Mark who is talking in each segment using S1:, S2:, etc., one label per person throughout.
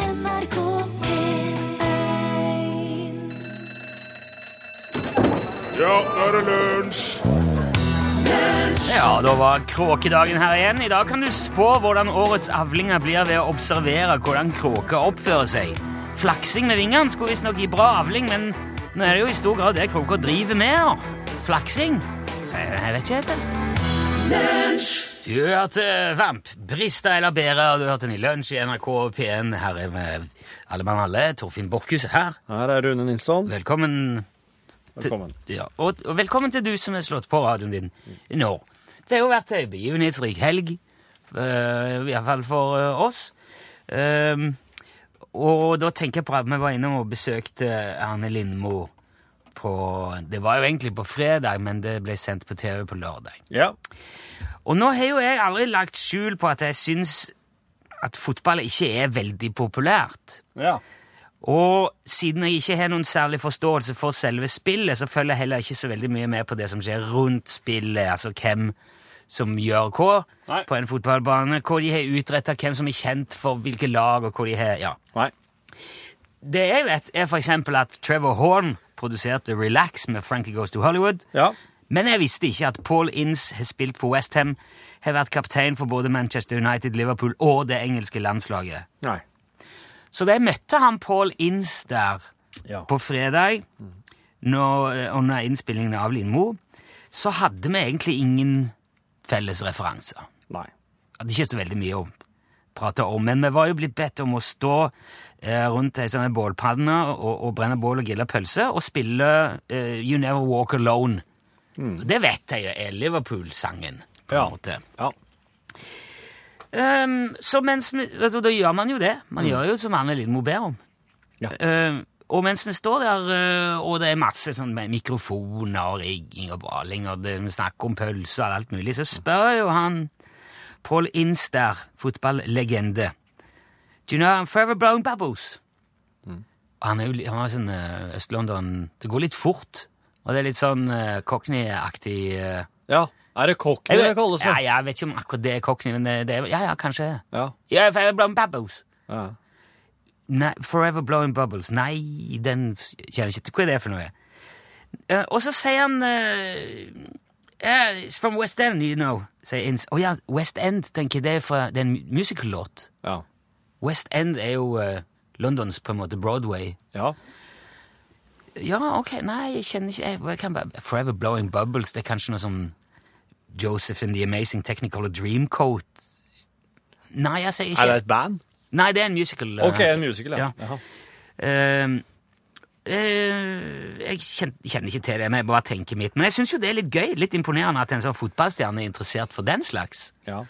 S1: NRK P1
S2: Ja, nå er det lunsj!
S3: Ja, da var kråkedagen her igjen. I dag kan du spå hvordan årets avlinger blir ved å observere hvordan kråker oppfører seg. Flaksing med vingene skulle visstnok gi bra avling, men nå er det jo i stor grad det kråker driver med. da. Flaksing. Så jeg vet ikke helt, det. Du hørte Vamp, Brista eller Bære, og du hørte den i Lunsj i NRK P1. Her er med alle mann alle. Torfinn Borchhus er her.
S4: Her er Rune Nilsson.
S3: Velkommen
S4: Velkommen.
S3: ja, og, og velkommen til du som har slått på radioen din nå. Det har jo vært ei begivenhetsrik helg, eh, i hvert fall for eh, oss. Ehm, og da tenker jeg på at vi var innom og besøkte Erne Lindmo på Det var jo egentlig på fredag, men det ble sendt på TV på lørdag.
S4: Ja.
S3: Og nå har jo jeg aldri lagt skjul på at jeg syns at fotball ikke er veldig populært.
S4: ja.
S3: Og siden jeg ikke har noen særlig forståelse for selve spillet, så følger jeg heller ikke så veldig mye med på det som skjer rundt spillet, altså hvem som gjør hva
S4: Nei.
S3: på en fotballbane, hva de har utretta, hvem som er kjent for hvilke lag, og hva de har Ja.
S4: Nei.
S3: Det jeg vet, er for eksempel at Trevor Horn produserte Relax med Frankie Goes to Hollywood.
S4: Ja.
S3: Men jeg visste ikke at Paul Ince har spilt på Westham, har vært kaptein for både Manchester United, Liverpool og det engelske landslaget.
S4: Nei.
S3: Så de møtte han Paul Ince der
S4: Ja.
S3: på fredag, når, eh, under innspillingen av Lindmo, så hadde vi egentlig ingen felles referanser.
S4: Nei.
S3: Hadde ikke så veldig mye å prate om, men vi var jo blitt bedt om å stå eh, rundt ei sånn bålpanne og, og brenne bål og grille pølse og spille eh, You Never Walk Alone. Det vet jeg jo er Liverpool-sangen, på en
S4: Ja.
S3: måte.
S4: Ja.
S3: Ehm, så mens vi, altså, da gjør man jo det. Man gjør jo som Anne Lindmo ber om.
S4: Mm. Ja.
S3: Ehm, og mens vi står der, eh, og det er masse sånn med mikrofoner og rigging og baling, og det, vi snakker om pølser og alt mulig, så spør jo han Paul Inster, fotballegende Do you know I'm forever blowing bubbles?
S4: Mm.
S3: Og Han er jo li- han er sånn eh, Øst-London Det går litt fort, og det er litt sånn uh, Cockney-aktig eh,
S4: ja. Er det Cockney det kalles?
S3: ja,
S4: det?
S3: jeg vet ikke om akkurat det er Cockney, men det, det er Ja, ja, kanskje.
S4: Ja.
S3: Ja, Forever Blowing Bubbles.
S4: ja.
S3: Nei, forever Blowing Bubbles. Nei, den kjenner jeg ikke til. Hva er det for noe? Eh, og så sier han eh, eh, It's from West End, you know. sier Ince. Å ja, West End, tenker jeg. Det er, fra, det er en musical-låt.
S4: Ja.
S3: West End er jo eh, Londons på en måte Broadway.
S4: ja.
S3: Ja, ok, nei, jeg kjenner ikke jeg, jeg eh, kan bare, Forever Blowing Bubbles, det er kanskje noe som Joseph and the Amazing Technicolor Dreamcoat Nei, jeg sier ikke
S4: Er det et band?
S3: Nei, det er en musical. eh,
S4: Ok, en musical, ja.
S3: Ja. Ehm, eh, jeg kjen- kjenner ikke til det, men jeg bare tenker mitt. Men jeg syns jo det er litt gøy, litt imponerende at en sånn fotballstjerne er interessert for den slags.
S4: Ja.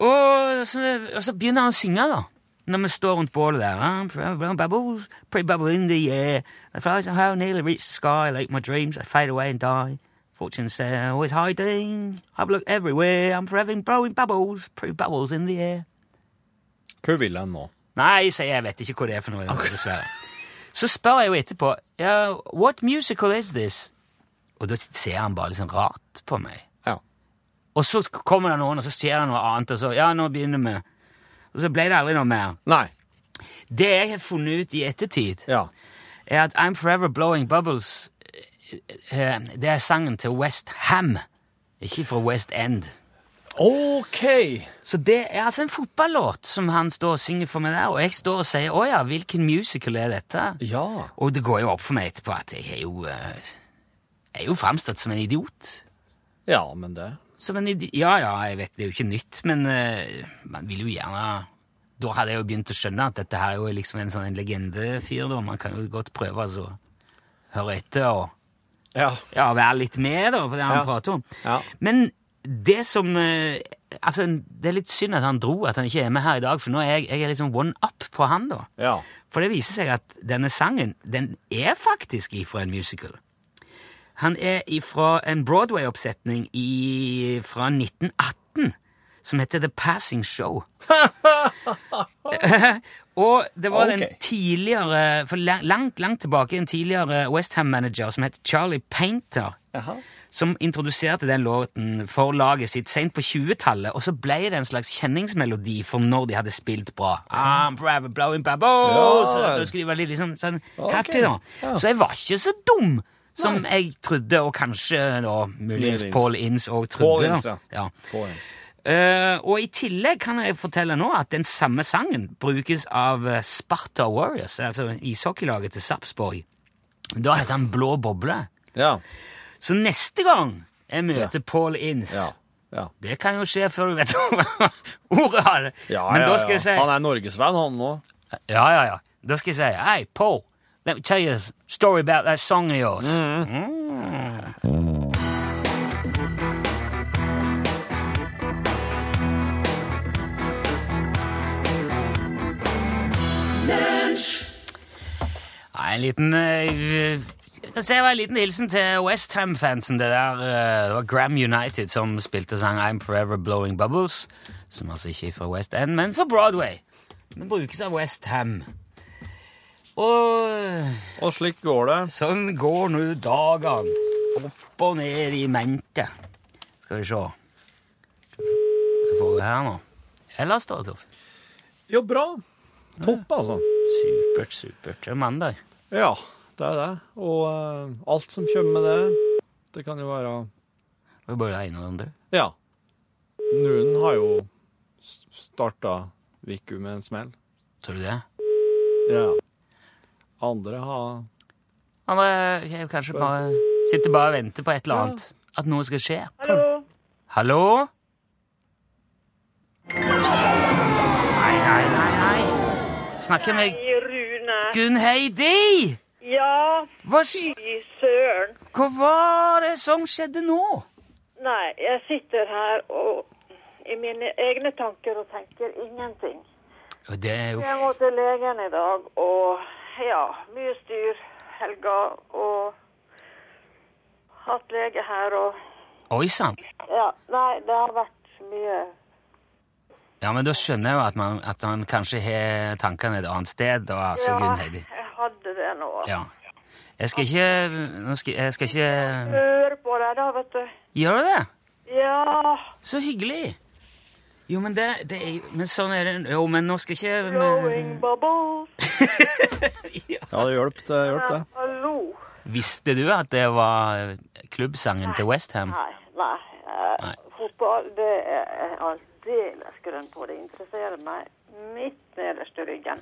S3: Og så, og så begynner han å synge, da. Når vi står rundt bålet der. I'm from brown bubbles, pretty bubble in the air. The flies and how nearly reach the sky, like my dreams, I fade away and die. "Oh, Fortune's there, always hiding. I've looked everywhere, I'm forever blowing bubbles, pretty bubbles in the air.
S4: Hvor vil han nå?
S3: Nei, sier jeg, jeg vet ikke hva det er for noe, dessverre. Så spør jeg jo etterpå, ja, what musical is this? Og da ser han bare litt sånn rart på meg.
S4: Ja.
S3: Og så kommer det noen, og så skjer det noe annet, og så, ja, nå begynner vi. Og så ble det aldri noe mer.
S4: Nei.
S3: Det jeg har funnet ut i ettertid,
S4: Ja.
S3: er at I'm Forever Blowing Bubbles, eh, det er sangen til West Ham, ikke fra West End.
S4: OK!
S3: Så det er altså en fotballåt som han står og synger for meg der, og jeg står og sier, åja, hvilken musical er dette?
S4: Ja.
S3: Og det går jo opp for meg etterpå at jeg er jo, eh, jeg er jo framstått som en idiot.
S4: Ja, men det
S3: Som en idi ja, ja, jeg vet, det er jo ikke nytt, men eh, man vil jo gjerne Da hadde jeg jo begynt å skjønne at dette her er jo liksom en sånn en legendefyr, da. Man kan jo godt prøve altså, å høre etter og
S4: Ja.
S3: ja, være litt med da, på det han
S4: Ja.
S3: prater om.
S4: Ja.
S3: Men det som eh, Altså, det er litt synd at han dro, at han ikke er med her i dag, for nå er jeg, jeg er liksom one up på han, da.
S4: Ja.
S3: For det viser seg at denne sangen, den er faktisk ifra en musical. Han er ifra en Broadway-oppsetning i, fra 1918 som heter The Passing Show. Og det var den
S4: Ok.
S3: tidligere, for lang- langt, langt tilbake, en tidligere Westham-manager som het Charlie Painter,
S4: Jaha.
S3: som introduserte den låten for laget sitt sent på 20-tallet, og så ble det en slags kjenningsmelodi for når de hadde spilt bra. I'm forever blowing bubbles!
S4: Ja.
S3: Da skulle de være litt liksom sånn
S4: Ok.
S3: happy, da.
S4: Ja.
S3: Så jeg var ikke så dum som jeg trodde, og kanskje da muligens
S4: Muligens.
S3: Paul Inns òg trodde.
S4: Paul Ince,
S3: da.
S4: ja.
S3: ja. Eh, og i tillegg kan jeg fortelle nå at den samme sangen brukes av eh, Sparta Warriors, altså ishockeylaget til Sarpsborg. Da heter han Blå boble.
S4: Ja.
S3: Så neste gang jeg møter Paul Inns
S4: Ja. ja.
S3: Det kan jo skje før du vet ordet av det.
S4: Ja,
S3: Men
S4: ja,
S3: da skal
S4: ja.
S3: jeg si
S4: Han er norgesvenn, han nå.
S3: Ja, ja, ja. Da skal jeg si Hei, Paul, let me tell you a story about that song of yours. Mm. Nei, en liten eh, skal se, Det var en liten hilsen til Westham-fansen. Det der eh, det var Gram United som spilte og sang I'm Forever Blowing Bubbles, som altså ikke er fra West End, men fra Broadway. Men brukes av Westham. Og
S4: Og slik går det.
S3: sånn går nå dagene. Opp og ned i mente. Skal vi se. Så får vi her nå. Ellers da, Torf.
S4: Jo, bra. Topp, altså.
S3: Supert, supert. Det er mandag.
S4: Ja, det er det. Og eh, alt som kommer med det, det kan jo være
S3: Det er bare det ene og det andre.
S4: Ja. Noen har jo s- starta Viku med en smell.
S3: Tror du det?
S4: Ja. Andre har
S3: Andre eh, kanskje bare sitter bare og venter på et eller annet. At noe skal skje.
S1: Hallo.
S3: Hallo? Nei, nei, nei, nei. Snakker med
S1: Hei, Rune.
S3: Gunn Heidi!
S1: Ja,
S3: Hva, s-
S1: fy søren.
S3: hva var det som skjedde nå?
S1: Nei, jeg sitter her og i mine egne tanker og tenker ingenting.
S3: Jo, Det er jo
S1: Jeg må til legen i dag, og ja, mye styr helga, og hatt lege her, og
S3: Oi sann.
S1: ja, nei, det har vært mye.
S3: Ja, men da skjønner jeg jo at, man, at han kanskje har tankene et annet sted, da, altså,
S1: Ja,
S3: Gunn Heidi.
S1: jeg hadde det nå.
S3: Ja. Jeg skal ikke nå skal, Jeg skal ikke
S1: Hør på deg da, vet du.
S3: Gjør du det?
S1: Ja,
S3: Så hyggelig! Jo, men det, det er jo Men sånn er det Jo, men nå skal ikke men,
S1: blowing bubbles.
S4: Ja, det hjalp, det. Hjelp, det.
S1: Hallo.
S3: Visste du at det var eh, klubbsangen til Westham?
S1: Nei, nei. eh,
S3: Nei.
S1: Fotball det er jeg aldeles grønn på. Det interesserer meg midt nederst i ryggen.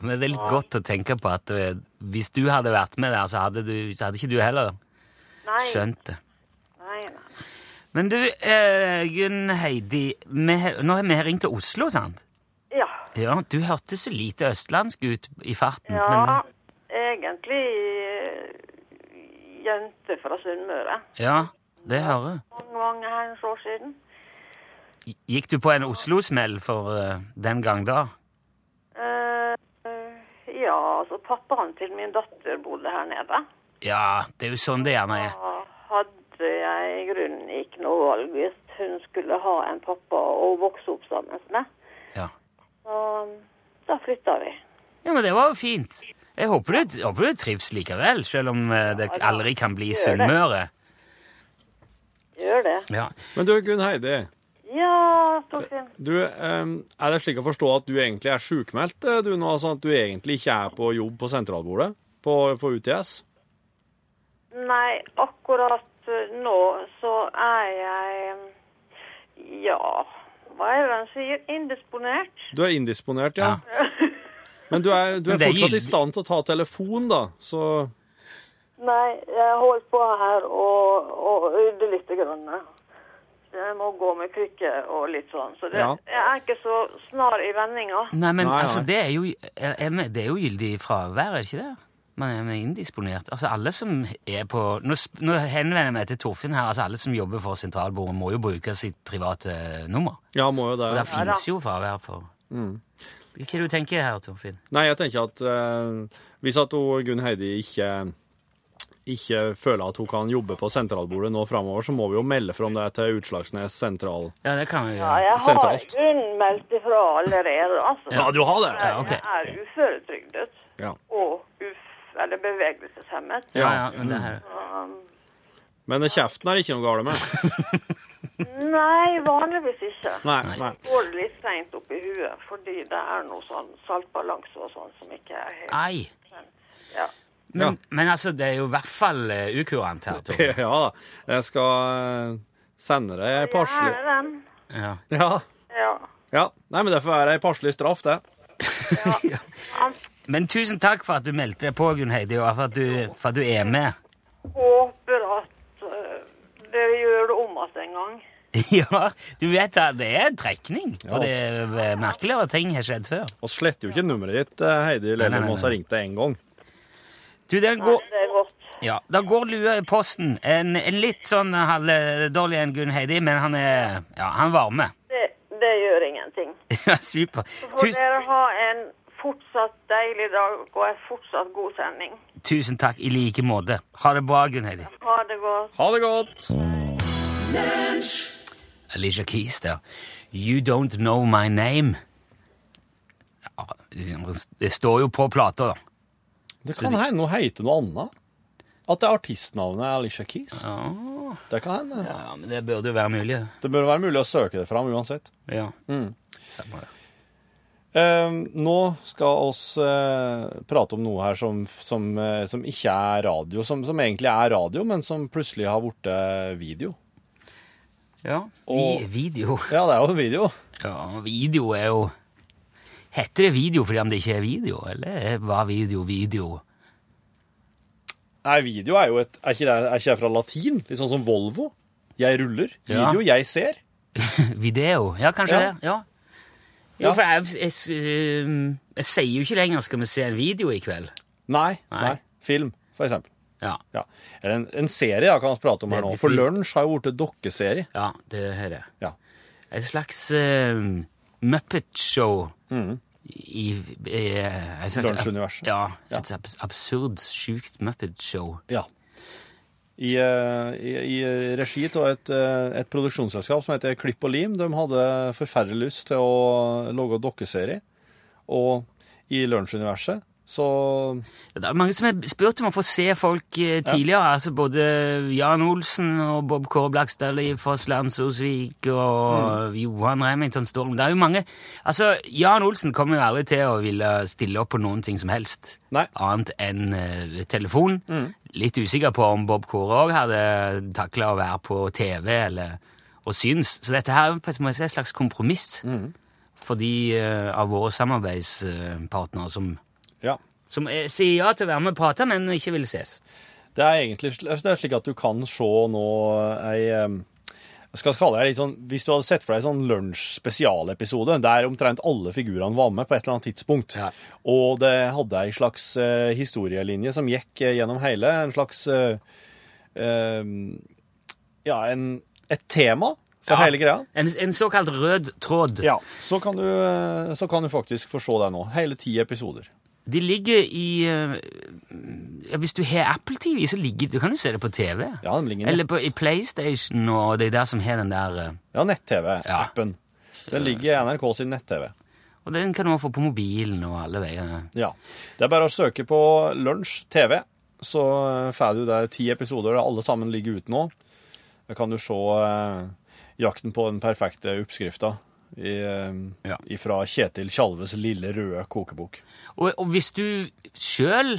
S3: Men det er litt godt å tenke på at eh, hvis du hadde vært med der, så hadde, du, så hadde ikke du heller
S1: Nei,
S3: skjønt det.
S1: nei, nei.
S3: Men du, eh, Gunn Heidi, vi, nå har vi ringt til Oslo, sant?
S1: Ja,
S3: Ja, du hørte så lite østlandsk ut i farten.
S1: ja
S3: men-
S1: egentlig eh, jente fra Sunnmøre.
S3: ja det hører jeg.
S1: Mange, mange herrens år siden.
S3: Gikk du på en Oslo-smell for eh, den gang da?
S1: Eh, eh, ja, altså pappaen til min datter bodde her nede.
S3: Ja, det er jo sånn det gjerne er.
S1: Da hadde jeg i grunnen ikke noe valg hvis hun skulle ha en pappa å vokse opp sammen med.
S3: Ja.
S1: Så da flytta vi.
S3: Ja, men det var jo fint. Jeg håper du, håper du trives likevel, selv om eh, det aldri kan bli Sunnmøre.
S1: Gjør det.
S3: Ja.
S4: Men du, Gunn Heidi.
S1: Ja, Torfinn.
S4: Du, ehm, er det slik å forstå at du egentlig er sjukmeldt, eh, du nå? Altså at du egentlig ikke er på jobb på sentralbordet på, på UTS?
S1: Nei, akkurat eh, nå så er jeg eh, Ja, hva er det han sier? Indisponert?
S4: Du er indisponert, ja. Men du er, du
S3: Men det
S4: er
S3: er
S4: fortsatt i
S3: gyldig.
S4: stand til å ta telefon, da. Så
S1: Nei, jeg holder på her og, og rydder litt. Grann. Jeg må gå med krykke og litt sånn. Så det,
S4: Ja.
S1: jeg er ikke så snar i vendinga.
S3: Nei, men
S4: Nei, nei.
S3: altså, det er jo, er, er, vi- det er jo gyldig fravær, er det ikke det? Man er man er indisponert. Altså, alle som er på... Nå, sp- nå henvender jeg meg til Torfinn her, altså alle som jobber for sentralbordet må jo bruke sitt private eh, nummer.
S4: ja, Mm. må jo
S3: Og der
S4: det.
S3: finnes jo fravær for... Hva er det du tenker her, Torfinn?
S4: Nei, jeg tenker at eh, hvis at hun, Gunn Heidi ikke ikke føler at hun kan jobbe på sentralbordet nå framover, så må vi jo melde fra om det til Utslagsnes sentral.
S3: Ja, det kan vi
S1: Ja,
S3: gjøre.
S1: jeg har
S4: Sentralt.
S1: grunnmeldt ifra allerede, altså.
S4: Ja, du har det?
S3: Ja, ok.
S1: Jeg er uføretrygdet
S4: Ja.
S1: og uf, eller bevegelseshemmet.
S4: Mm.
S3: Ja, ja, men det her...
S4: Men kjeften er ikke noe galt med.
S1: Nei, vanligvis ikke.
S4: Nei, nei.
S1: Går det litt seint opp i huet, fordi det er noe sånn saltbalanse og sånn som ikke er helt
S3: Ei.
S1: ja.
S3: Men,
S4: Ja.
S3: men altså, det er jo i hvert fall eh, ukurant her, Tom.
S4: Ja da. Jeg skal eh, sende deg ei passelig
S1: Gjerne den.
S3: Ja.
S4: ja.
S1: Ja.
S4: ja. Nei, men det får være ei passelig straff, det.
S3: Men tusen takk for at du meldte deg på, Gunn Heidi, og for at du, for at du er med.
S1: Håper at eh, dere gjør det om igjen en gang.
S3: Ja, du vet at det er trekning, og det er eh, merkeligere ting har skjedd før.
S4: Vi sletter jo ikke nummeret ditt, eh, Heidi
S3: nei,
S4: Lellum,
S3: nei,
S4: vi har
S3: nei.
S4: ringt deg én gang.
S3: Du, den går...
S1: Det er godt.
S3: Ja, da går lua i posten. En, en litt sånn halvdårlig en Gunn Heidi, men han er ja, han varme.
S1: Det, det gjør ingenting.
S3: Ja, super.
S1: Får
S3: Tusen,
S1: dere ha en fortsatt deilig dag og en fortsatt god sending.
S3: tusen takk i like måte. Ha det bra, Gunn Heidi.
S1: Ha det godt.
S4: Ha det godt!
S3: Alicia Keys der. You Don't Know My Name. Ja, det står jo på plata, da.
S4: Det kan hende hun heter noe annet. At det artistnavnet er Alicia Keys. Det kan hende.
S3: Ja, men det burde jo være mulig.
S4: Det bør være mulig å søke det fram uansett.
S3: Ja. Samme det.
S4: Eh, nå skal oss eh, prate om noe her som, som, eh, som ikke er radio, som, som egentlig er radio, men som plutselig har blitt eh, video.
S3: Ja. Vi,
S4: Og-
S3: video.
S4: Ja, det er jo video.
S3: Ja, video er jo Heter det video fordi om det ikke er video, eller var video video?
S4: Nei, video er jo et Er ikke det, er ikke det fra latin? Litt sånn som Volvo. Jeg ruller.
S3: Ja.
S4: Video, jeg ser.
S3: Video. Ja, kanskje
S4: Ja.
S3: det. Ja. Jo,
S4: Ja.
S3: for jeg, jeg, jeg, jeg sier jo ikke lenger 'skal vi se en video i kveld'.
S4: Nei,
S3: Nei.
S4: nei. Film, for eksempel.
S3: Ja,
S4: Ja. Eller en, en serie da, kan vi prate om her nå.
S3: Veldig
S4: For
S3: tvil.
S4: Lunsj har jo blitt dokkeserie.
S3: ja det hører jeg.
S4: Ja.
S3: Et slags eh, Muppet-show
S4: Mm.
S3: i, i eh, et slags-
S4: Lunsjuniverset.
S3: Ja, et abs absurd, sjukt Muppet-show.
S4: Ja. I, eh, i, i regi av et, eh, et produksjonsselskap som heter Klipp og Lim. De hadde forferdelig lyst til å lage dokkeserie. Og i Lunsjuniverset så
S3: Det er mange som har spurt om å få se folk eh, tidligere, altså både Jan Olsen og Bob Kåre Blakstad fra Slandsosvik og Johan Remington Storm. Det er jo mange, altså Jan Olsen kommer jo aldri til å ville stille opp på noen ting som helst,
S4: Nei.
S3: annet enn eh, telefon. Litt usikker på om Bob Kåre også hadde taklet å være på TV eller, og syns. Så dette her er jo på en måte et slags kompromiss for de eh, av våre samarbeidspartnere som
S4: Ja.
S3: som eh, sier ja til å være med og prate, men ikke vil ses.
S4: Det er egentlig sl- det er slik at du kan se nå ei eh, jeg skal kalle det litt sånn, Hvis du hadde sett for deg en sånn lunsj-spesialepisode der omtrent alle figurene var med på et eller annet tidspunkt,
S3: Ja.
S4: og det hadde ei slags eh, historielinje som gikk eh, gjennom hele, en slags eh, eh, Ja, en, et tema for
S3: Ja.
S4: hele greia.
S3: En, en såkalt rød tråd.
S4: Ja, så kan, du, eh, så kan du faktisk få se det nå. Hele ti episoder.
S3: De ligger i eh, ja, Hvis du har Apple TV, så ligger, du kan du se det på TV.
S4: Ja, den ligger
S3: Eller
S4: nett,
S3: på, i PlayStation og de der som har den der eh,
S4: ja, nett-TV-appen. Den ligger i NRK sin nett-TV.
S3: Og den kan du også få på mobilen og alle veier.
S4: Ja. Det er bare å søke på Lunsj TV, så eh, får du der ti episoder. Alle sammen ligger ute nå. Da kan du se eh, jakten på den perfekte oppskrifta i, eh,
S3: Ja.
S4: ifra Kjetil Tjalves lille røde kokebok.
S3: Og, og hvis du sjøl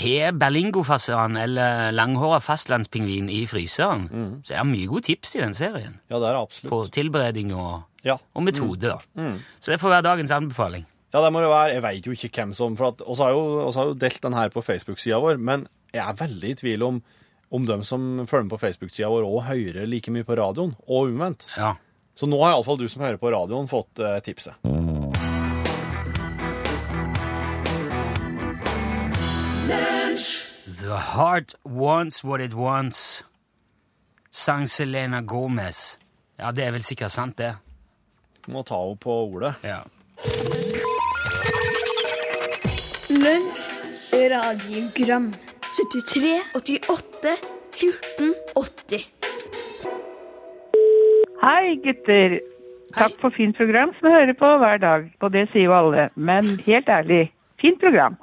S3: har berlingofasan eller langhåra fastlandspingvin i fryseren,
S4: Mm.
S3: så er det mye gode tips i den serien.
S4: Ja, det er det
S3: På
S4: absolutt.
S3: tilberedning og,
S4: Ja.
S3: og metode, da.
S4: Mm.
S3: Så det får være dagens anbefaling.
S4: ja, det må det være. Jeg veit jo ikke hvem som For at oss har, jo- oss har jo delt den her på Facebook-sida vår, men jeg er veldig i tvil om om de som følger med på Facebook-sida vår òg hører like mye på radioen, og omvendt.
S3: Ja.
S4: Så nå har iallfall du som hører på radioen, fått eh, tipset.
S3: The heart wants what it wants, sang Selena Gomez. Ja, det er vel sikkert sant, det.
S4: Må ta henne på ordet.
S3: Ja.
S5: Lunsj radiogram 73 88 14 80
S6: Hei, gutter. Takk for fint program som jeg hører på hver dag. Og det sier jo alle. Men helt ærlig, fint program.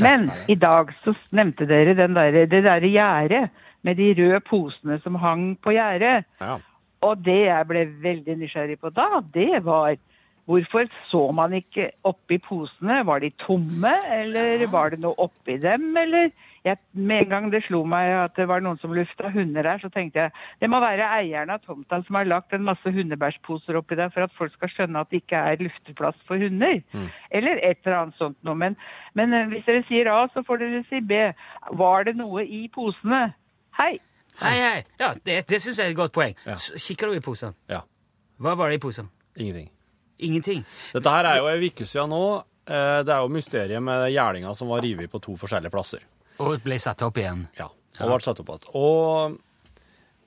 S6: Men i dag så nevnte dere den der, det derre gjerdet med de røde posene som hang på gjerdet.
S4: Ja.
S6: Og det jeg ble veldig nysgjerrig på da, det var hvorfor så man ikke oppi posene? Var de tomme, eller var det noe oppi dem, eller? Jeg, med en gang det slo meg at det var noen som lufta hunder her, så tenkte jeg det må være eieren av tomta som har lagt en masse hundebærsposer oppi der for at folk skal skjønne at det ikke er lufteplass for hunder. Eller et eller annet sånt noe. Men, men eh, hvis dere sier A, så får dere si B. Var det noe i posene? Hei!
S3: Hei, hei. Ja, det, det syns jeg er et godt poeng. Så Kikker du i posen?
S4: Ja.
S3: Hva var det i posen?
S4: Ingenting.
S3: Ingenting.
S4: Dette her er jo ei uke siden nå. Eh, Det er jo mysteriet med gjerninga som var revet på to forskjellige plasser.
S3: Og ble satt opp igjen.
S4: Ja, og ble satt opp igjen. Og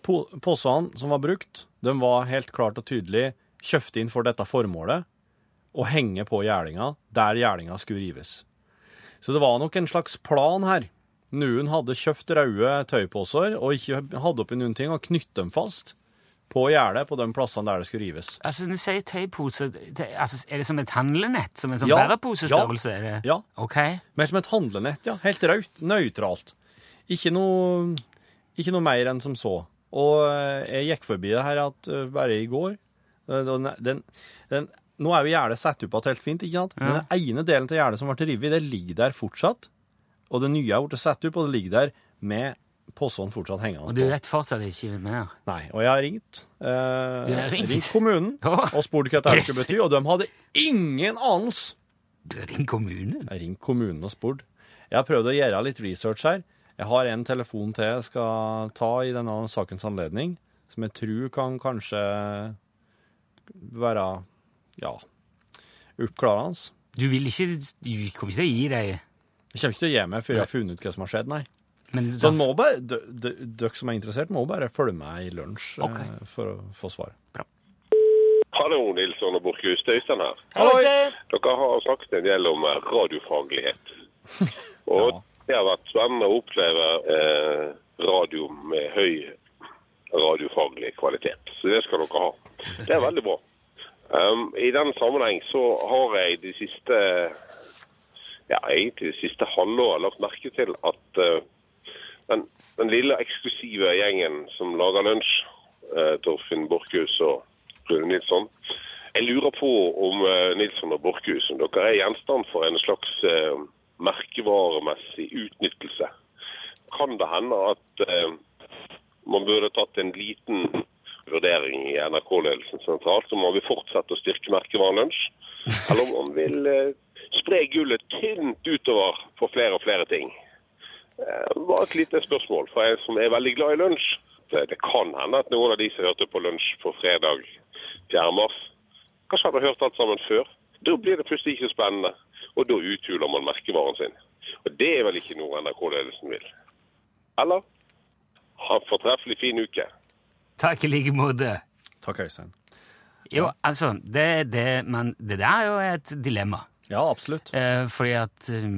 S4: po- posene som var brukt, de var helt klart og tydelig kjøpt inn for dette formålet, og henge på gjerninga der gjerninga skulle rives. Så det var nok en slags plan her. Noen hadde kjøpt røde tøyposer og ikke hadde oppi noen ting, og knyttet dem fast på gjerdet på de plassene der det skulle rives.
S3: Altså, Du sier tøypose. Det, altså, er det som et handlenett? Som en sånn
S4: Ja,
S3: bæreposestørrelse? er det?
S4: ja.
S3: Ok.
S4: Mer som et handlenett, ja. Helt raut, nøytralt. Ikke noe, ikke noe mer enn som så. Og eh, jeg gikk forbi det her at eh, bare i går eh, den, den, den, Nå er jo gjerdet satt opp igjen helt fint, ikke sant? Men den ene delen av gjerdet som ble revet, det ligger der fortsatt. Og det nye er blitt satt opp, og det ligger der med posene fortsatt hengende
S3: Og du vet fortsatt ikke mer?
S4: Nei, og jeg har ringt. Eh,
S3: har ringt?
S4: kommunen
S3: Ja.
S4: og spurt hva dette her skulle
S3: Yes.
S4: bety, og de hadde ingen anelse.
S3: Du er din kommune?
S4: Jeg har ringt kommunen og spurt. Jeg har prøvd å gjøre litt research her. Jeg har en telefon til jeg skal ta i denne sakens anledning, som jeg tror kan kanskje være ja, oppklarende.
S3: Du vil ikke Du kommer ikke til å gi deg.
S4: Jeg kommer ikke til å gi meg før jeg har funnet ut hva som har skjedd, nei.
S3: Men
S4: Så en må bare, d- d- dere som er interessert, må bare følge med i lunsj eh,
S3: Ok.
S4: for å få svar.
S7: Hallo, Nilsson og Borchhus. Det er Øystein her. Dere har snakket en del om eh, radiofaglighet. Og det har vært spennende å oppleve eh, radio med høy radiofaglig kvalitet. Så det skal dere ha. Det er veldig bra. Um, I den sammenheng så har jeg de siste ja, egentlig det siste halvåret lagt merke til at eh, den, den lille eksklusive gjengen som lager lunsj, eh, Torfinn Borchhus og Rune Nilsson, jeg lurer på om eh, Nilsson og Borchhus, om dere er gjenstand for en slags eh, merkevaremessig utnyttelse. Kan det hende at eh, man burde tatt en liten vurdering i NRK-ledelsen sentralt, om man vil fortsette å styrke merkevaren lunsj, eller om man vil eh, spre gullet tynt utover på flere og flere ting. Eh, bare et lite spørsmål fra en som er veldig glad i lunsj. Det, det kan hende at noen av de som hørte på lunsj på fredag 4. mars, kanskje hadde hørt alt sammen før. Da blir det plutselig ikke så spennende, og da uthuler man merkevaren sin. Og det er vel ikke noe NRK-ledelsen vil. Eller? Ha en fortreffelig fin uke.
S3: Takk i like måte.
S4: Takk, Øystein.
S3: Jo, altså, det, det, men det der er jo et dilemma.
S4: Ja, absolutt.
S3: Eh, fordi at eh,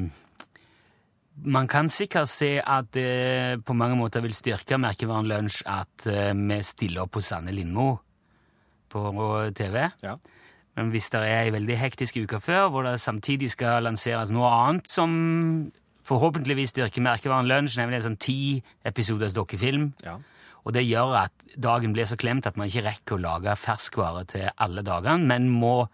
S3: man kan sikkert se at det på mange måter vil styrke merkevaren Lunsj at eh, vi stiller opp hos Sanne Lindmo på TV.
S4: Ja.
S3: Men hvis det er ei veldig hektisk uke før, hvor det samtidig skal lanseres noe annet som forhåpentligvis styrker merkevaren Lunsj, nemlig en sånn ti episoders dokkefilm,
S4: Ja.
S3: og det gjør at dagen blir så klemt at man ikke rekker å lage ferskvare til alle dagene, men må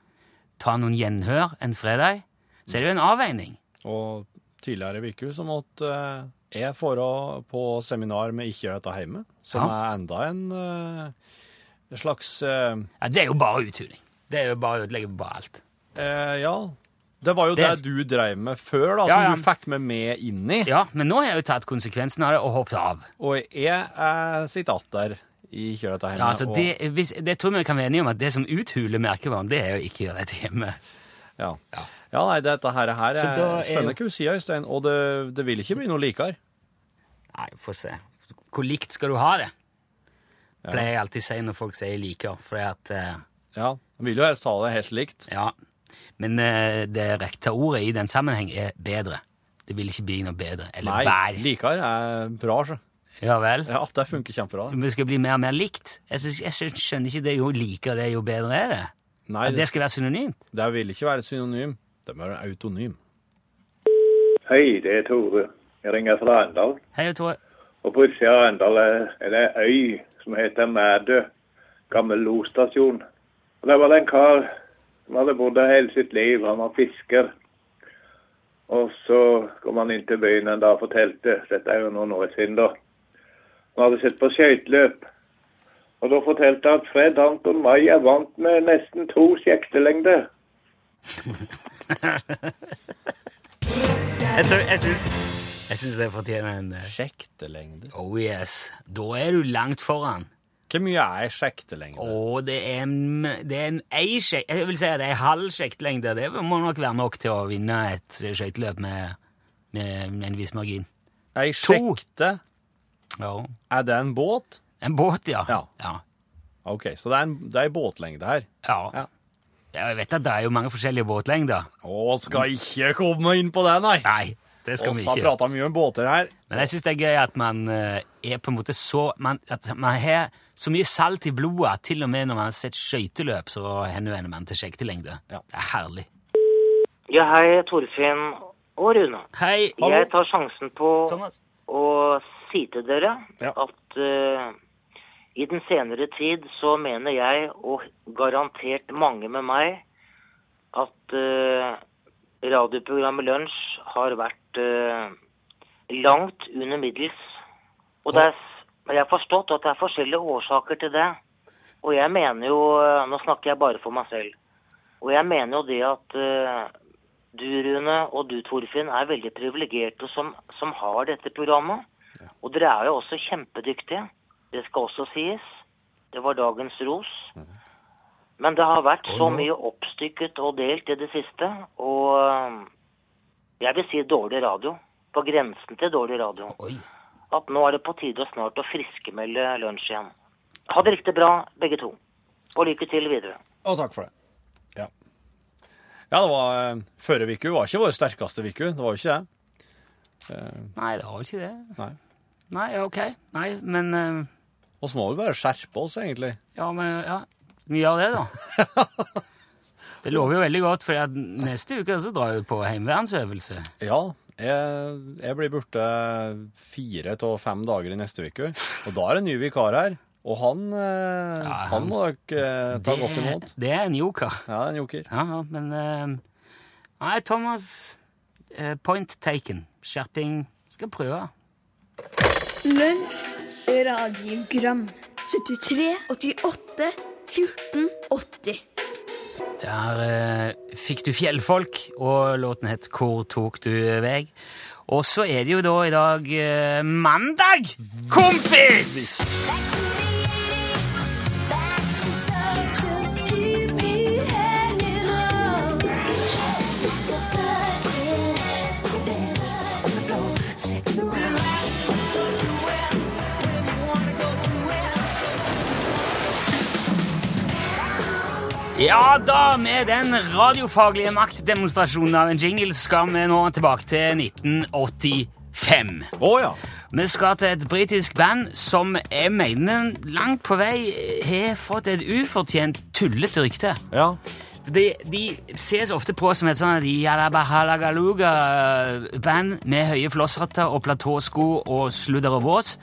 S3: ta noen gjenhør en fredag, så er det jo en avveining.
S4: Og tidligere i uka så måtte eh, jeg dra på seminar med Ikke gjør dette hjemme, som
S3: Ja.
S4: er enda en eh, slags eh,
S3: Ja, det er jo bare uthuling. Det er jo bare å ødelegge bare alt.
S4: eh, Ja. Det var jo det,
S3: Det-
S4: du drev med før, da,
S3: Ja,
S4: som
S3: ja.
S4: du fikk med meg inn i.
S3: Ja, men nå har jeg jo tatt konsekvensen av det og hoppet av.
S4: Og jeg er sitat der i Ikke gjør dette hjemme.
S3: Ja, altså,
S4: og,
S3: det, hvis, det tror jeg vi kan være enige om at det som uthuler merkevaren, det er jo ikke å gjøre dette hjemme.
S4: ja. Ja, nei, dette her, her
S3: Så
S4: er,
S3: da er
S4: skjønner
S3: jo-
S4: ikke hva du sier, Øystein, og det, det vil ikke bli noe likere.
S3: Nei, få se. Hvor likt skal du ha det? Pleier jeg alltid å si når folk sier liker, fordi at eh,
S4: Ja. Jeg vil jo helst ha det helt likt.
S3: Ja, men eh, det rette ordet i den sammenheng er bedre. Det vil ikke bli noe bedre. Eller
S4: Nei,
S3: bær.
S4: likere er bra, så.
S3: Ja vel.
S4: Ja, det funker kjempebra. det.
S3: Men det skal bli mer og mer likt. Jeg, synes, jeg skjøn- skjønner ikke det. Jo likere det, er, jo bedre er det.
S4: Nei,
S3: At det skal være synonymt.
S4: Det vil ikke være et synonym. Det må være en autonym.
S8: Hei, det er Tore. Jeg ringer fra Arendal.
S3: Hei, jeg tror
S8: Og på utsida av Arendal er er det ei øy som heter Mædø. Gammel losstasjon. Og Der var det en kar som hadde bodd der hele sitt liv. Han var fisker. Og så kom han inn til byen en dag og fortalte Dette er jo noen år siden, da. Han hadde sett på skøyteløp. Og da fortalte han at Fred Anton Maier vant med nesten to kjektelengder.
S3: Jeg, tror- jeg syns jeg syns det fortjener en eh,
S4: Sjektelengde?
S3: Oh yes. Da er du langt foran.
S4: Hvor mye er sjektelengde?
S3: Og det er en, det er en ei sjek- Jeg vil si at det er en halv sjektlengde. Det må nok være nok til å vinne et skøyteløp med, med, med en viss margin.
S4: Ei
S3: To.
S4: sjekte,
S3: Ja.
S4: er det en båt?
S3: En båt, ja.
S4: Ja.
S3: ja.
S4: OK, så det er en, det er en båtlengde her.
S3: Ja.
S4: Ja.
S3: Ja, Jeg vet at det er jo mange forskjellige båtlengder.
S4: Å, skal ikke komme inn på det, nei!
S3: Nei, det skal
S4: Oss
S3: vi
S4: har
S3: ikke.
S4: prata mye om båter her.
S3: Men jeg syns det er gøy at man eh, er på en måte så man, At man har så mye salt i blodet at til og med når man har sett skøyteløp, så henvender man til sjektelengde.
S4: Ja.
S3: Det er herlig.
S9: Ja, hei, Torfinn og Rune.
S3: Hei,
S9: Jeg tar sjansen på
S3: Thomas.
S9: å si til dere
S4: Ja.
S9: at eh, i den senere tid så mener jeg, og garantert mange med meg, at eh, radioprogrammet Lunsj har vært eh, langt under middels. Og det er, s- jeg har forstått at det er forskjellige årsaker til det. Og jeg mener jo eh, Nå snakker jeg bare for meg selv. Og jeg mener jo det at eh, du, Rune, og du, Torfinn, er veldig privilegerte som, som har dette programmet. Og dere er jo også kjempedyktige. Det skal også sies. Det var dagens ros. Men det har vært så mye oppstykket og delt i det siste, og eh, jeg vil si dårlig radio. På grensen til dårlig radio.
S3: Oi.
S9: At nå er det på tide å snart å friskmelde lunsj igjen. Ha det riktig bra, begge to. Og lykke til videre.
S4: Og takk for det. Ja, ja det var eh, Førre uke var ikke vår sterkeste uke. Det var jo ikke det.
S3: Nei, det var vel ikke det.
S4: Nei.
S3: Nei, ja, ok. Nei, men eh,
S4: Og så må vi bare skjerpe oss, egentlig.
S3: Ja, men ja. Vi gjør det, da. Det lover jo veldig godt, for at neste uke så drar vi på heimevernsøvelse.
S4: Ja, jeg, jeg blir borte fire til fem dager i neste uke. Og da er det en ny vikar her. Og han, eh,
S3: Ja,
S4: han må dere eh, ta godt imot.
S3: det er en joker.
S4: Ja, en joker.
S3: Ja, ja, men eh, Nei, Thomas. eh, point taken. Skjerping. Skal prøve.
S5: Lunsj, radiogram 73 88 14 80
S3: Der eh, fikk du fjellfolk, og låten het Hvor tok du veg? Og så er det jo da i dag eh, mandag, kompis! Ja da, med den radiofaglige maktdemonstrasjonen av en jingle skal vi nå tilbake til 1985.
S4: Å ja.
S3: Vi skal til et britisk band som jeg mener langt på vei har fått et ufortjent tullete rykte.
S4: ja.
S3: De, de ses ofte på som et sånn jalabahalagaluga-band med høye flosshatter og platåsko og sludder og vås,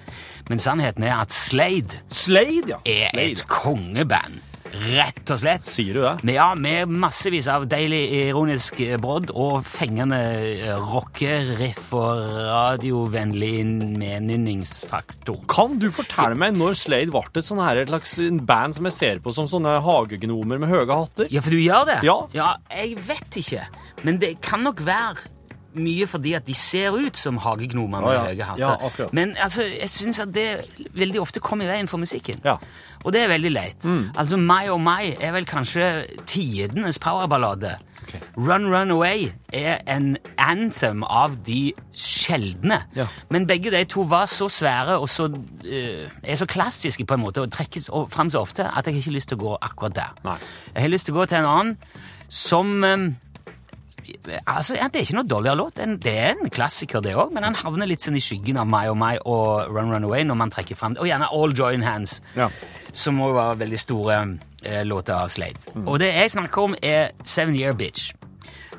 S3: men sannheten er at Slade
S4: Slade, ja.
S3: er et kongeband. Rett og slett.
S4: Sier du det?
S3: Men Ja, med massevis av deilig ironisk eh, brodd og fengende eh, rockeriff og radiovennlig mednynningsfaktor.
S4: Kan du fortelle meg når Slade ble et sånn her et slags band som jeg ser på som sånne hagegnomer med høye hatter?
S3: Ja, for du gjør det?
S4: Ja.
S3: Jeg vet ikke, men det kan nok være mye fordi at de ser ut som hagegnomer med
S4: Ja, ja.
S3: høye hatter.
S4: Ja, akkurat.
S3: men altså, jeg syns at det veldig ofte kommer i veien for musikken.
S4: Ja. Mm.
S3: Og det er veldig leit. Altså, My og My er vel kanskje tidenes powerballade.
S4: Ok.
S3: Run Run Away er en anthem av de sjeldne.
S4: Ja.
S3: Men begge de to var så svære og så, eh, er så klassiske på en måte, og trekkes o- fram så ofte, at jeg har ikke lyst til å gå akkurat der.
S4: Nei.
S3: Jeg har lyst til å gå til en annen som eh, Altså, ja, Det er ikke noe dårligere låt. En- Det er en klassiker, det òg, men han havner litt sånn i skyggen av My og My og Run Run Away når man trekker fram Og gjerne All Join Hands
S4: Ja.
S3: som òg var
S4: Mm.
S3: veldig store eh, låter av Slade. Og det jeg snakker om, er Seven Year Bitch.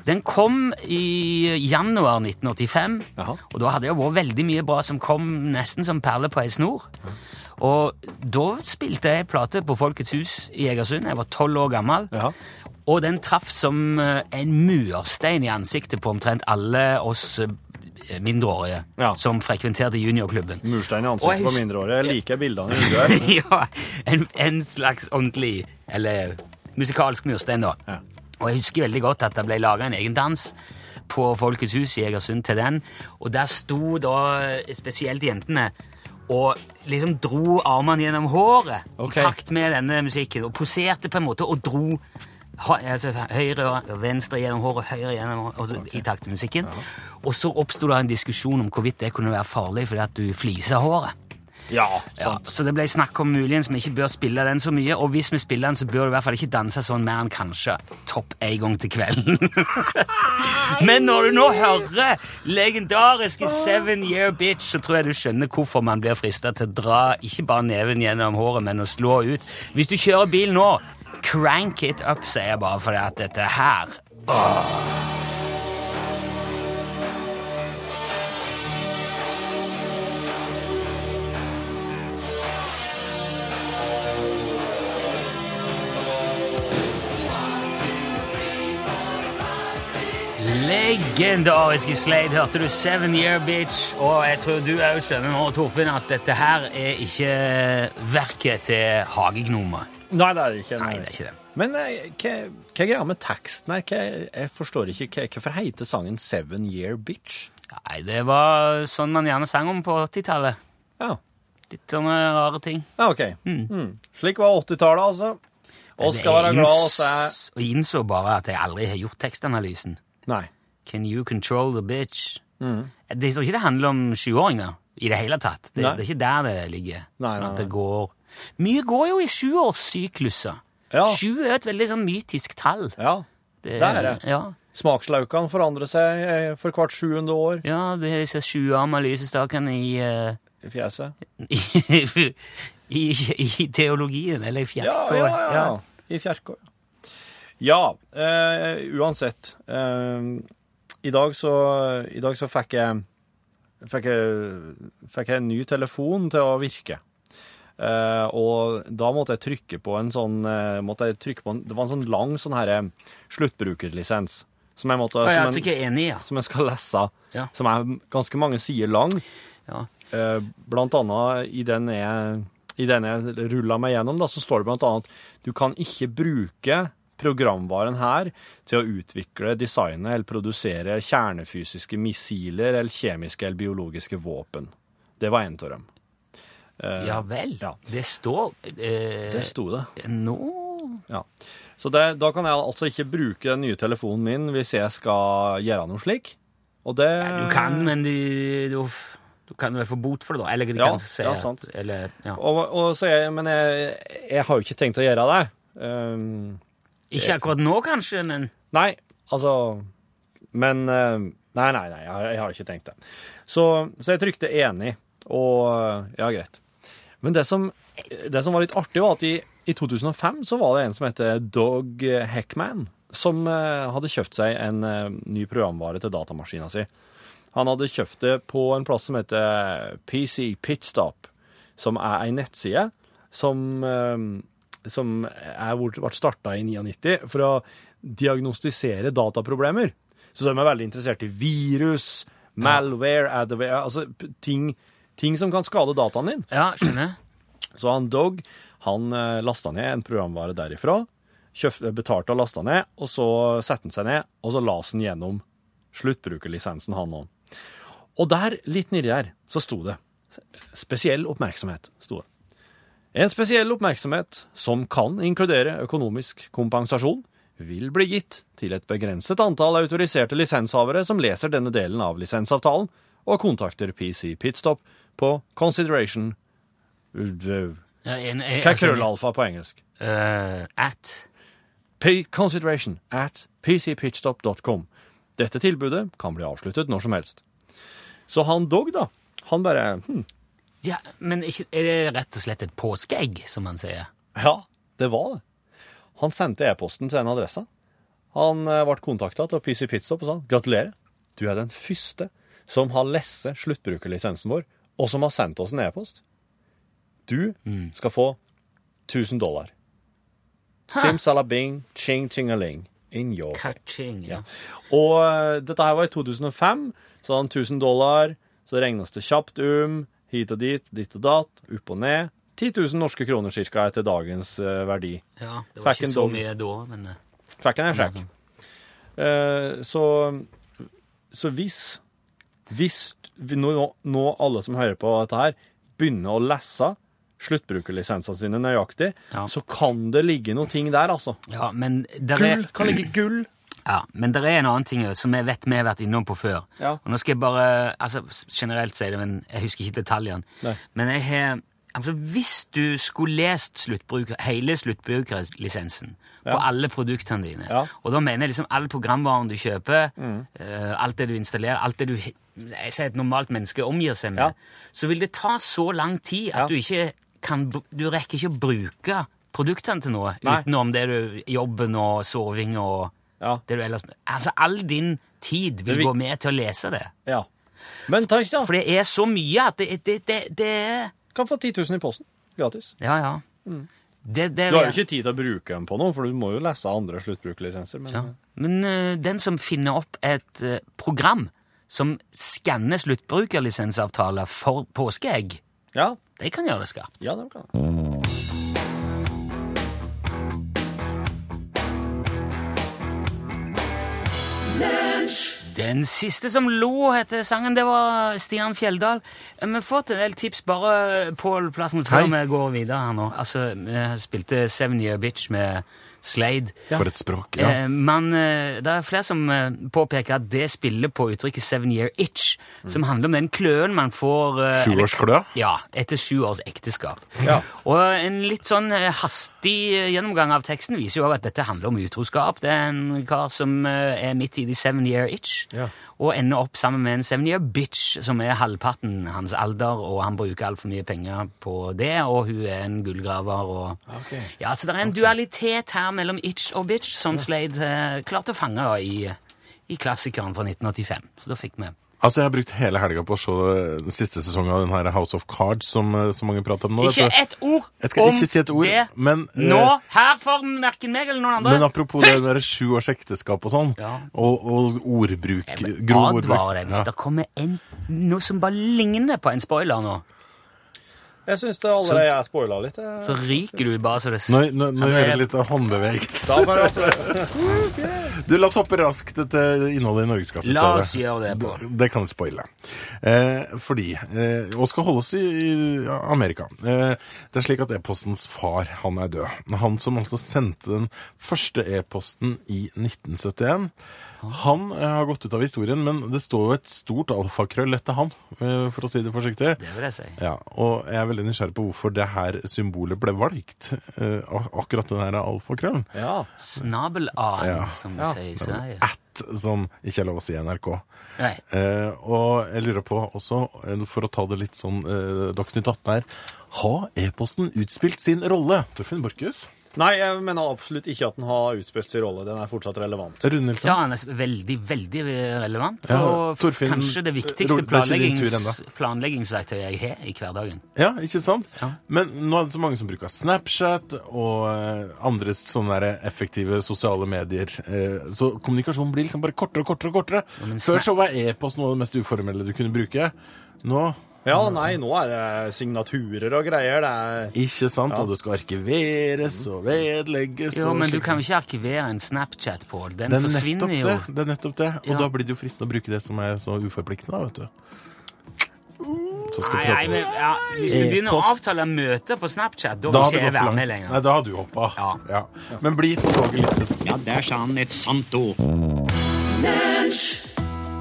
S3: Den kom i januar 1985,
S4: Jaha.
S3: og da hadde det jo vært veldig mye bra som kom nesten som perle på ei snor. Og da spilte jeg plate på Folkets hus i Egersund. Jeg var tolv år gammel.
S4: Jaha.
S3: Og den traff som eh, en murstein i ansiktet på omtrent alle oss eh, mindreårige
S4: Ja.
S3: som frekventerte juniorklubben.
S4: Murstein i
S3: Og jeg
S4: ansiktet på
S3: hus-
S4: mindreårige. Jeg liker bildene i vinduet. her.
S3: ja, en, en slags ordentlig, eller musikalsk murstein da.
S4: Ja.
S3: Og jeg husker veldig godt at det ble laget en egen dans på Folkets hus i Egersund til den, og der sto da spesielt jentene og liksom dro armene gjennom håret
S4: Ok.
S3: i takt med denne musikken, og poserte på en måte og dro ha- altså, høyre og venstre gjennom håret, høyre gjennom håret, og så i takt med musikken. Og så oppstod det en diskusjon om hvorvidt det kunne være farlig fordi at du fliser håret.
S4: Ja,
S3: Ja,
S4: sant.
S3: så det ble snakk om muligens vi ikke bør spille den så mye, og hvis vi spiller den, så bør du i hvert fall ikke danse sånn mer enn kanskje topp en gang til kvelden. Men når du nå hører legendariske Seven Year Bitch, så tror jeg du skjønner hvorfor man blir frista til å dra ikke bare neven gjennom håret, men å slå ut. Hvis du kjører bil nå, crank it up, sier jeg bare, for at dette her Legendariske Slade hørte du Seven Year Bitch, og jeg tror du òg skjønner nå, Torfinn, at dette her er ikke verket til hagegnomer.
S4: Nei, det er det ikke.
S3: Nei, det er ikke det.
S4: Men eh, hva hva er greia med teksten her? Hva- Jeg forstår ikke. Hva- Hvorfor heter sangen Seven Year Bitch?
S3: Nei, det var sånn man gjerne sang om på 80-tallet.
S4: Ja,
S3: Litt sånne rare ting.
S4: ja ok. Mm. Slik var 80-tallet, altså. Og skal være glad oss er
S3: inns- Og innså bare at jeg aldri har gjort tekstanalysen.
S4: Nei.
S3: Can you control the bitch?
S4: Mm.
S3: Det jeg tror ikke det handler om sjuåringer i det hele tatt. Det,
S4: Nei.
S3: det er ikke der det ligger.
S4: Nei, nei,
S3: At det går... Mye går jo i sjuårssykluser.
S4: Ja.
S3: Sju er et veldig sånn mytisk tall. Eh,
S4: Ja. Det er det.
S3: Ja,
S4: Smakslaukene forandrer seg eh, for hvert 700 år
S3: ja det er disse sjuarma lysestakene i, eh,
S4: i fjeset.
S3: i, i, i teologien, eller i
S4: Ja,
S3: fjerkåret.
S4: ja, ja. ja. I Fjerkå. ja. Ja, eh, uansett. Eh, i, dag så, I dag så fikk jeg Fikk jeg, fikk jeg en ny telefon til å virke. Eh, og da måtte jeg trykke på en sånn eh, måtte jeg trykke på en, Det var en sånn lang sånn her eh, sluttbrukerlisens som jeg måtte
S3: Å, ja,
S4: som,
S3: at du ikke er enig, ja.
S4: som jeg skal lese.
S3: Ja.
S4: Som er ganske mange sider lang.
S3: Ja.
S4: Eh, blant annet i den jeg, i den jeg rulla meg gjennom, da, så står det blant annet du kan ikke bruke programvaren her til å utvikle, designe eller produsere kjernefysiske missiler eller kjemiske eller biologiske våpen. Det var en av dem. Eh,
S3: Ja vel.
S4: Ja.
S3: Det står eh,
S4: Det sto det.
S3: Nå
S4: Ja. Så det, da kan jeg altså ikke bruke den nye telefonen min hvis jeg skal gjøre noe slik. Og det
S3: Du kan,
S4: Eh.
S3: men de, du, du kan vel få bot for det, da. Eller de
S4: Ja,
S3: kan si
S4: ja,
S3: at-
S4: sant.
S3: Eller, ja.
S4: og, og så jeg, Men jeg, jeg har jo ikke tenkt å gjøre det. Um,
S3: Ikke akkurat nå, kanskje, men
S4: Nei, altså Men eh, Nei, nei, nei, jeg, jeg har ikke tenkt det. Så, så jeg trykte enig, og ja, greit. Men det som, det som var litt artig, var at i, i 2005 så var det en som heter Dog Heckman, som eh, hadde kjøpt seg en eh, ny programvare til datamaskina si. Han hadde kjøpt det på en plass som heter PC Pitstop, som er ei nettside som, eh, som er, hvor- ble starta i 99 for å diagnostisere dataproblemer. Så de er veldig interessert i virus, malware, adware, altså p- ting, ting som kan skade dataen din.
S3: Ja, skjønner.
S4: Så han Dog, han eh, lasta ned en programvare derifra, kjøpt, betalte og lasta ned, og så satte han seg ned, og så las han gjennom sluttbrukerlisensen han òg. Og der, litt nedi der, så sto det Spesiell oppmerksomhet, sto det. En spesiell oppmerksomhet som kan inkludere økonomisk kompensasjon, vil bli gitt til et begrenset antall autoriserte lisenshavere som leser denne delen av lisensavtalen, og kontakter PC Pitstop på consideration
S3: Ja, en- jeg-
S4: hva er
S3: altså,
S4: krøllalfa på engelsk?
S3: eh, at.
S4: Pay consideration at pcpitchstop.com. Dette tilbudet kan bli avsluttet når som helst. Så han Dog, da, han bare hm,
S3: Ja, men ikke, er det rett og slett et påskeegg, som man sier?
S4: Ja, det var det. Han sendte e-posten til den adressa, Han eh, ble kontakta av PC Pitstop og sa gratulerer, du er den første som har lest sluttbrukerlisensen vår, og som har sendt oss en e-post. Du skal få 1000 dollar. Simsalabing, ching-ching-a-ling. In your
S3: Ka-ching, ja.
S4: og eh, dette her var i 2005, så hadde han 1000 dollar, så regnes det kjapt um, hit og dit, dit og datt, opp og ned. 10 000 norske kroner cirka er til dagens eh, verdi.
S3: ja. Det var
S4: Fikk en
S3: ikke så
S4: dom.
S3: mye da, men eh,
S4: Fikk han en sjekk. Eh, så, så hvis, hvis vi nå, nå alle som hører på dette her, begynner å lese sluttbrukerlisensene sine nøyaktig,
S3: Ja.
S4: så kan det ligge noe ting der, altså.
S3: ja, men der
S4: Gull
S3: er,
S4: kan ligge gull.
S3: ja, men der er en annen ting jo, som jeg vet vi har vært innom på før.
S4: Ja.
S3: Og nå skal jeg bare altså, s- generelt si det, men jeg husker ikke detaljene.
S4: Nei.
S3: Men jeg har Altså, Hvis du skulle lest sluttbruker, hele sluttbrukerlisensen på alle produktene dine,
S4: Ja. Mm.
S3: og da mener jeg liksom all programvaren du kjøper, eh, alt det du installerer, alt det du he- jeg sier et normalt menneske omgir seg med,
S4: Ja.
S3: så vil det ta så lang tid at
S4: Ja.
S3: du ikke kan br- Du rekker ikke å bruke produktene til noe
S4: Nei.
S3: utenom det du jobben og soving og
S4: Ja.
S3: det du ellers Altså, all din tid vil
S4: vil-
S3: gå med til å lese det.
S4: Ja. Men takk, da.
S3: For det er så mye at det, det, det, det er
S4: Kan få 10 000 i posten. Gratis.
S3: Ja, ja. Det, det,
S4: Du har jo ikke tid til å bruke dem på noe, for du må jo lese andre sluttbrukerlisenser. Men
S3: ja. Men eh, den som finner opp et eh, program som skanner sluttbrukerlisensavtaler for påskeegg,
S4: ja,
S3: de kan gjøre det skarpt.
S4: ja de kan.
S3: Den siste som lo, heter sangen. Det var Stian Fjelldal. Eh, Vi har fått en del tips bare eh, på plassen før vi går videre her nå. Altså, vi spilte Seven Year Bitch med Slade.
S2: For et språk.
S3: Eh, men eh, det er flere som eh, påpeker at det spiller på uttrykket Seven Year Itch, som handler om den kløen man får eh, eller-
S2: Sjuårsklø?
S3: Ja, etter sju års ekteskap.
S4: Ja.
S3: Og en litt sånn eh, hastig eh, gjennomgang av teksten viser jo også at dette handler om utroskap. Det er en kar som eh, er midt i de seven year itch,
S4: Ja.
S3: og ender opp sammen med en seven year bitch, som er halvparten hans alder, og han bruker altfor mye penger på det, og hun er en gullgraver. Og...
S4: Ah,
S3: Ja, så det er en dualitet her mellom itch og bitch, som Slade eh, klarte å fange da, i, i klassikeren fra 1985. Så da fikk vi
S2: Altså, jeg har brukt hele helga på å se den siste sesongen av den her House of Cards som eh, så mange prater om nå.
S3: Ikke
S2: så-
S3: et ord
S2: Jeg skal
S3: om
S2: ikke si et ord,
S3: det
S2: men, eh,
S3: nå, her for verken meg eller noen andre.
S2: Men apropos det med sju års ekteskap og sånn,
S3: Ja.
S2: og, og ordbruk, grov
S3: Advarer deg
S2: ordbruk
S3: hvis det kommer en, noe som bare ligner på en spoiler nå.
S4: Jeg syns det allerede jeg spoila litt. eh. jeg.
S3: Så ryker du bare så det s-
S2: Nå, nå, nå
S3: Ja,
S2: gjør
S3: det
S2: jeg
S3: er-
S2: litt håndbevegelse.
S4: Da bare at det-
S2: Du, La oss hoppe raskt til innholdet i Norgeskassen.
S3: La oss gjøre det, Pål.
S2: Det kan jeg spoile. Eh, fordi eh, Og skal holde oss i, i Amerika. Eh, det er slik at e-postens far, han er død. Han som altså sendte den første e-posten i 1971. Han eh, har gått ut av historien, men det står jo et stort alfakrøll etter han, eh, for å si det forsiktig.
S3: Det vil jeg si.
S2: Ja, og jeg er veldig nysgjerrig på hvorfor det her symbolet ble valgt. Eh, ak- akkurat den her alfakrøllen.
S4: Ja.
S3: Snabel-A,
S2: Ja.
S3: som vi sier i Sverige.
S2: At, som ikke er lov å si i NRK.
S3: Nei.
S2: Eh, og jeg lurer på også, eh, for å ta det litt sånn eh, Dagsnytt 18 her Har e-posten utspilt sin rolle? Torfinn Borchhus?
S4: Nei, jeg mener absolutt ikke at den har utspilt sin rolle. Den er fortsatt relevant.
S2: Rune Nilsen?
S3: Ja, han er s- veldig, veldig relevant.
S2: Ja,
S3: og f-
S2: Torfinn,
S3: kanskje
S2: Ro-
S3: det viktigste
S2: det er ikke din tur
S3: planleggings, planleggingsverktøyet jeg har i hverdagen.
S2: Ja, ikke sant?
S3: Ja.
S2: Men nå er det så mange som bruker Snapchat og eh, andre sånne der effektive sosiale medier. eh, Så kommunikasjonen blir liksom bare kortere og kortere. og kortere.
S3: men Snap-
S2: Før så var e-post noe av det mest uformelle du kunne bruke. Nå
S4: Ja, nei, nå er det signaturer og greier. Det er
S2: ikke sant, og det skal arkiveres og vedlegges.
S3: Jo,
S2: og
S3: men du
S2: slik-
S3: kan jo ikke arkivere en Snapchat, Pål. Den
S2: det er nettopp
S3: forsvinner
S2: det.
S3: jo.
S2: det er nettopp det. Og
S3: Ja.
S2: da blir det jo fristende å bruke det som er så uforpliktende, da, vet du. Så skal
S3: Nei,
S2: vi prate
S3: nei,
S2: om
S3: men
S2: det.
S3: ja, Hvis du begynner å
S2: E-post.
S3: avtale møter på Snapchat, da
S2: Eh, Da
S3: vil
S2: hadde
S3: ikke
S2: det
S3: jeg
S2: gått for
S3: være med
S2: langt.
S3: lenger.
S2: Nei, da hadde du hoppa.
S3: Ja.
S2: Men bli på toget litt.
S10: Ja, der sa han et sant ord.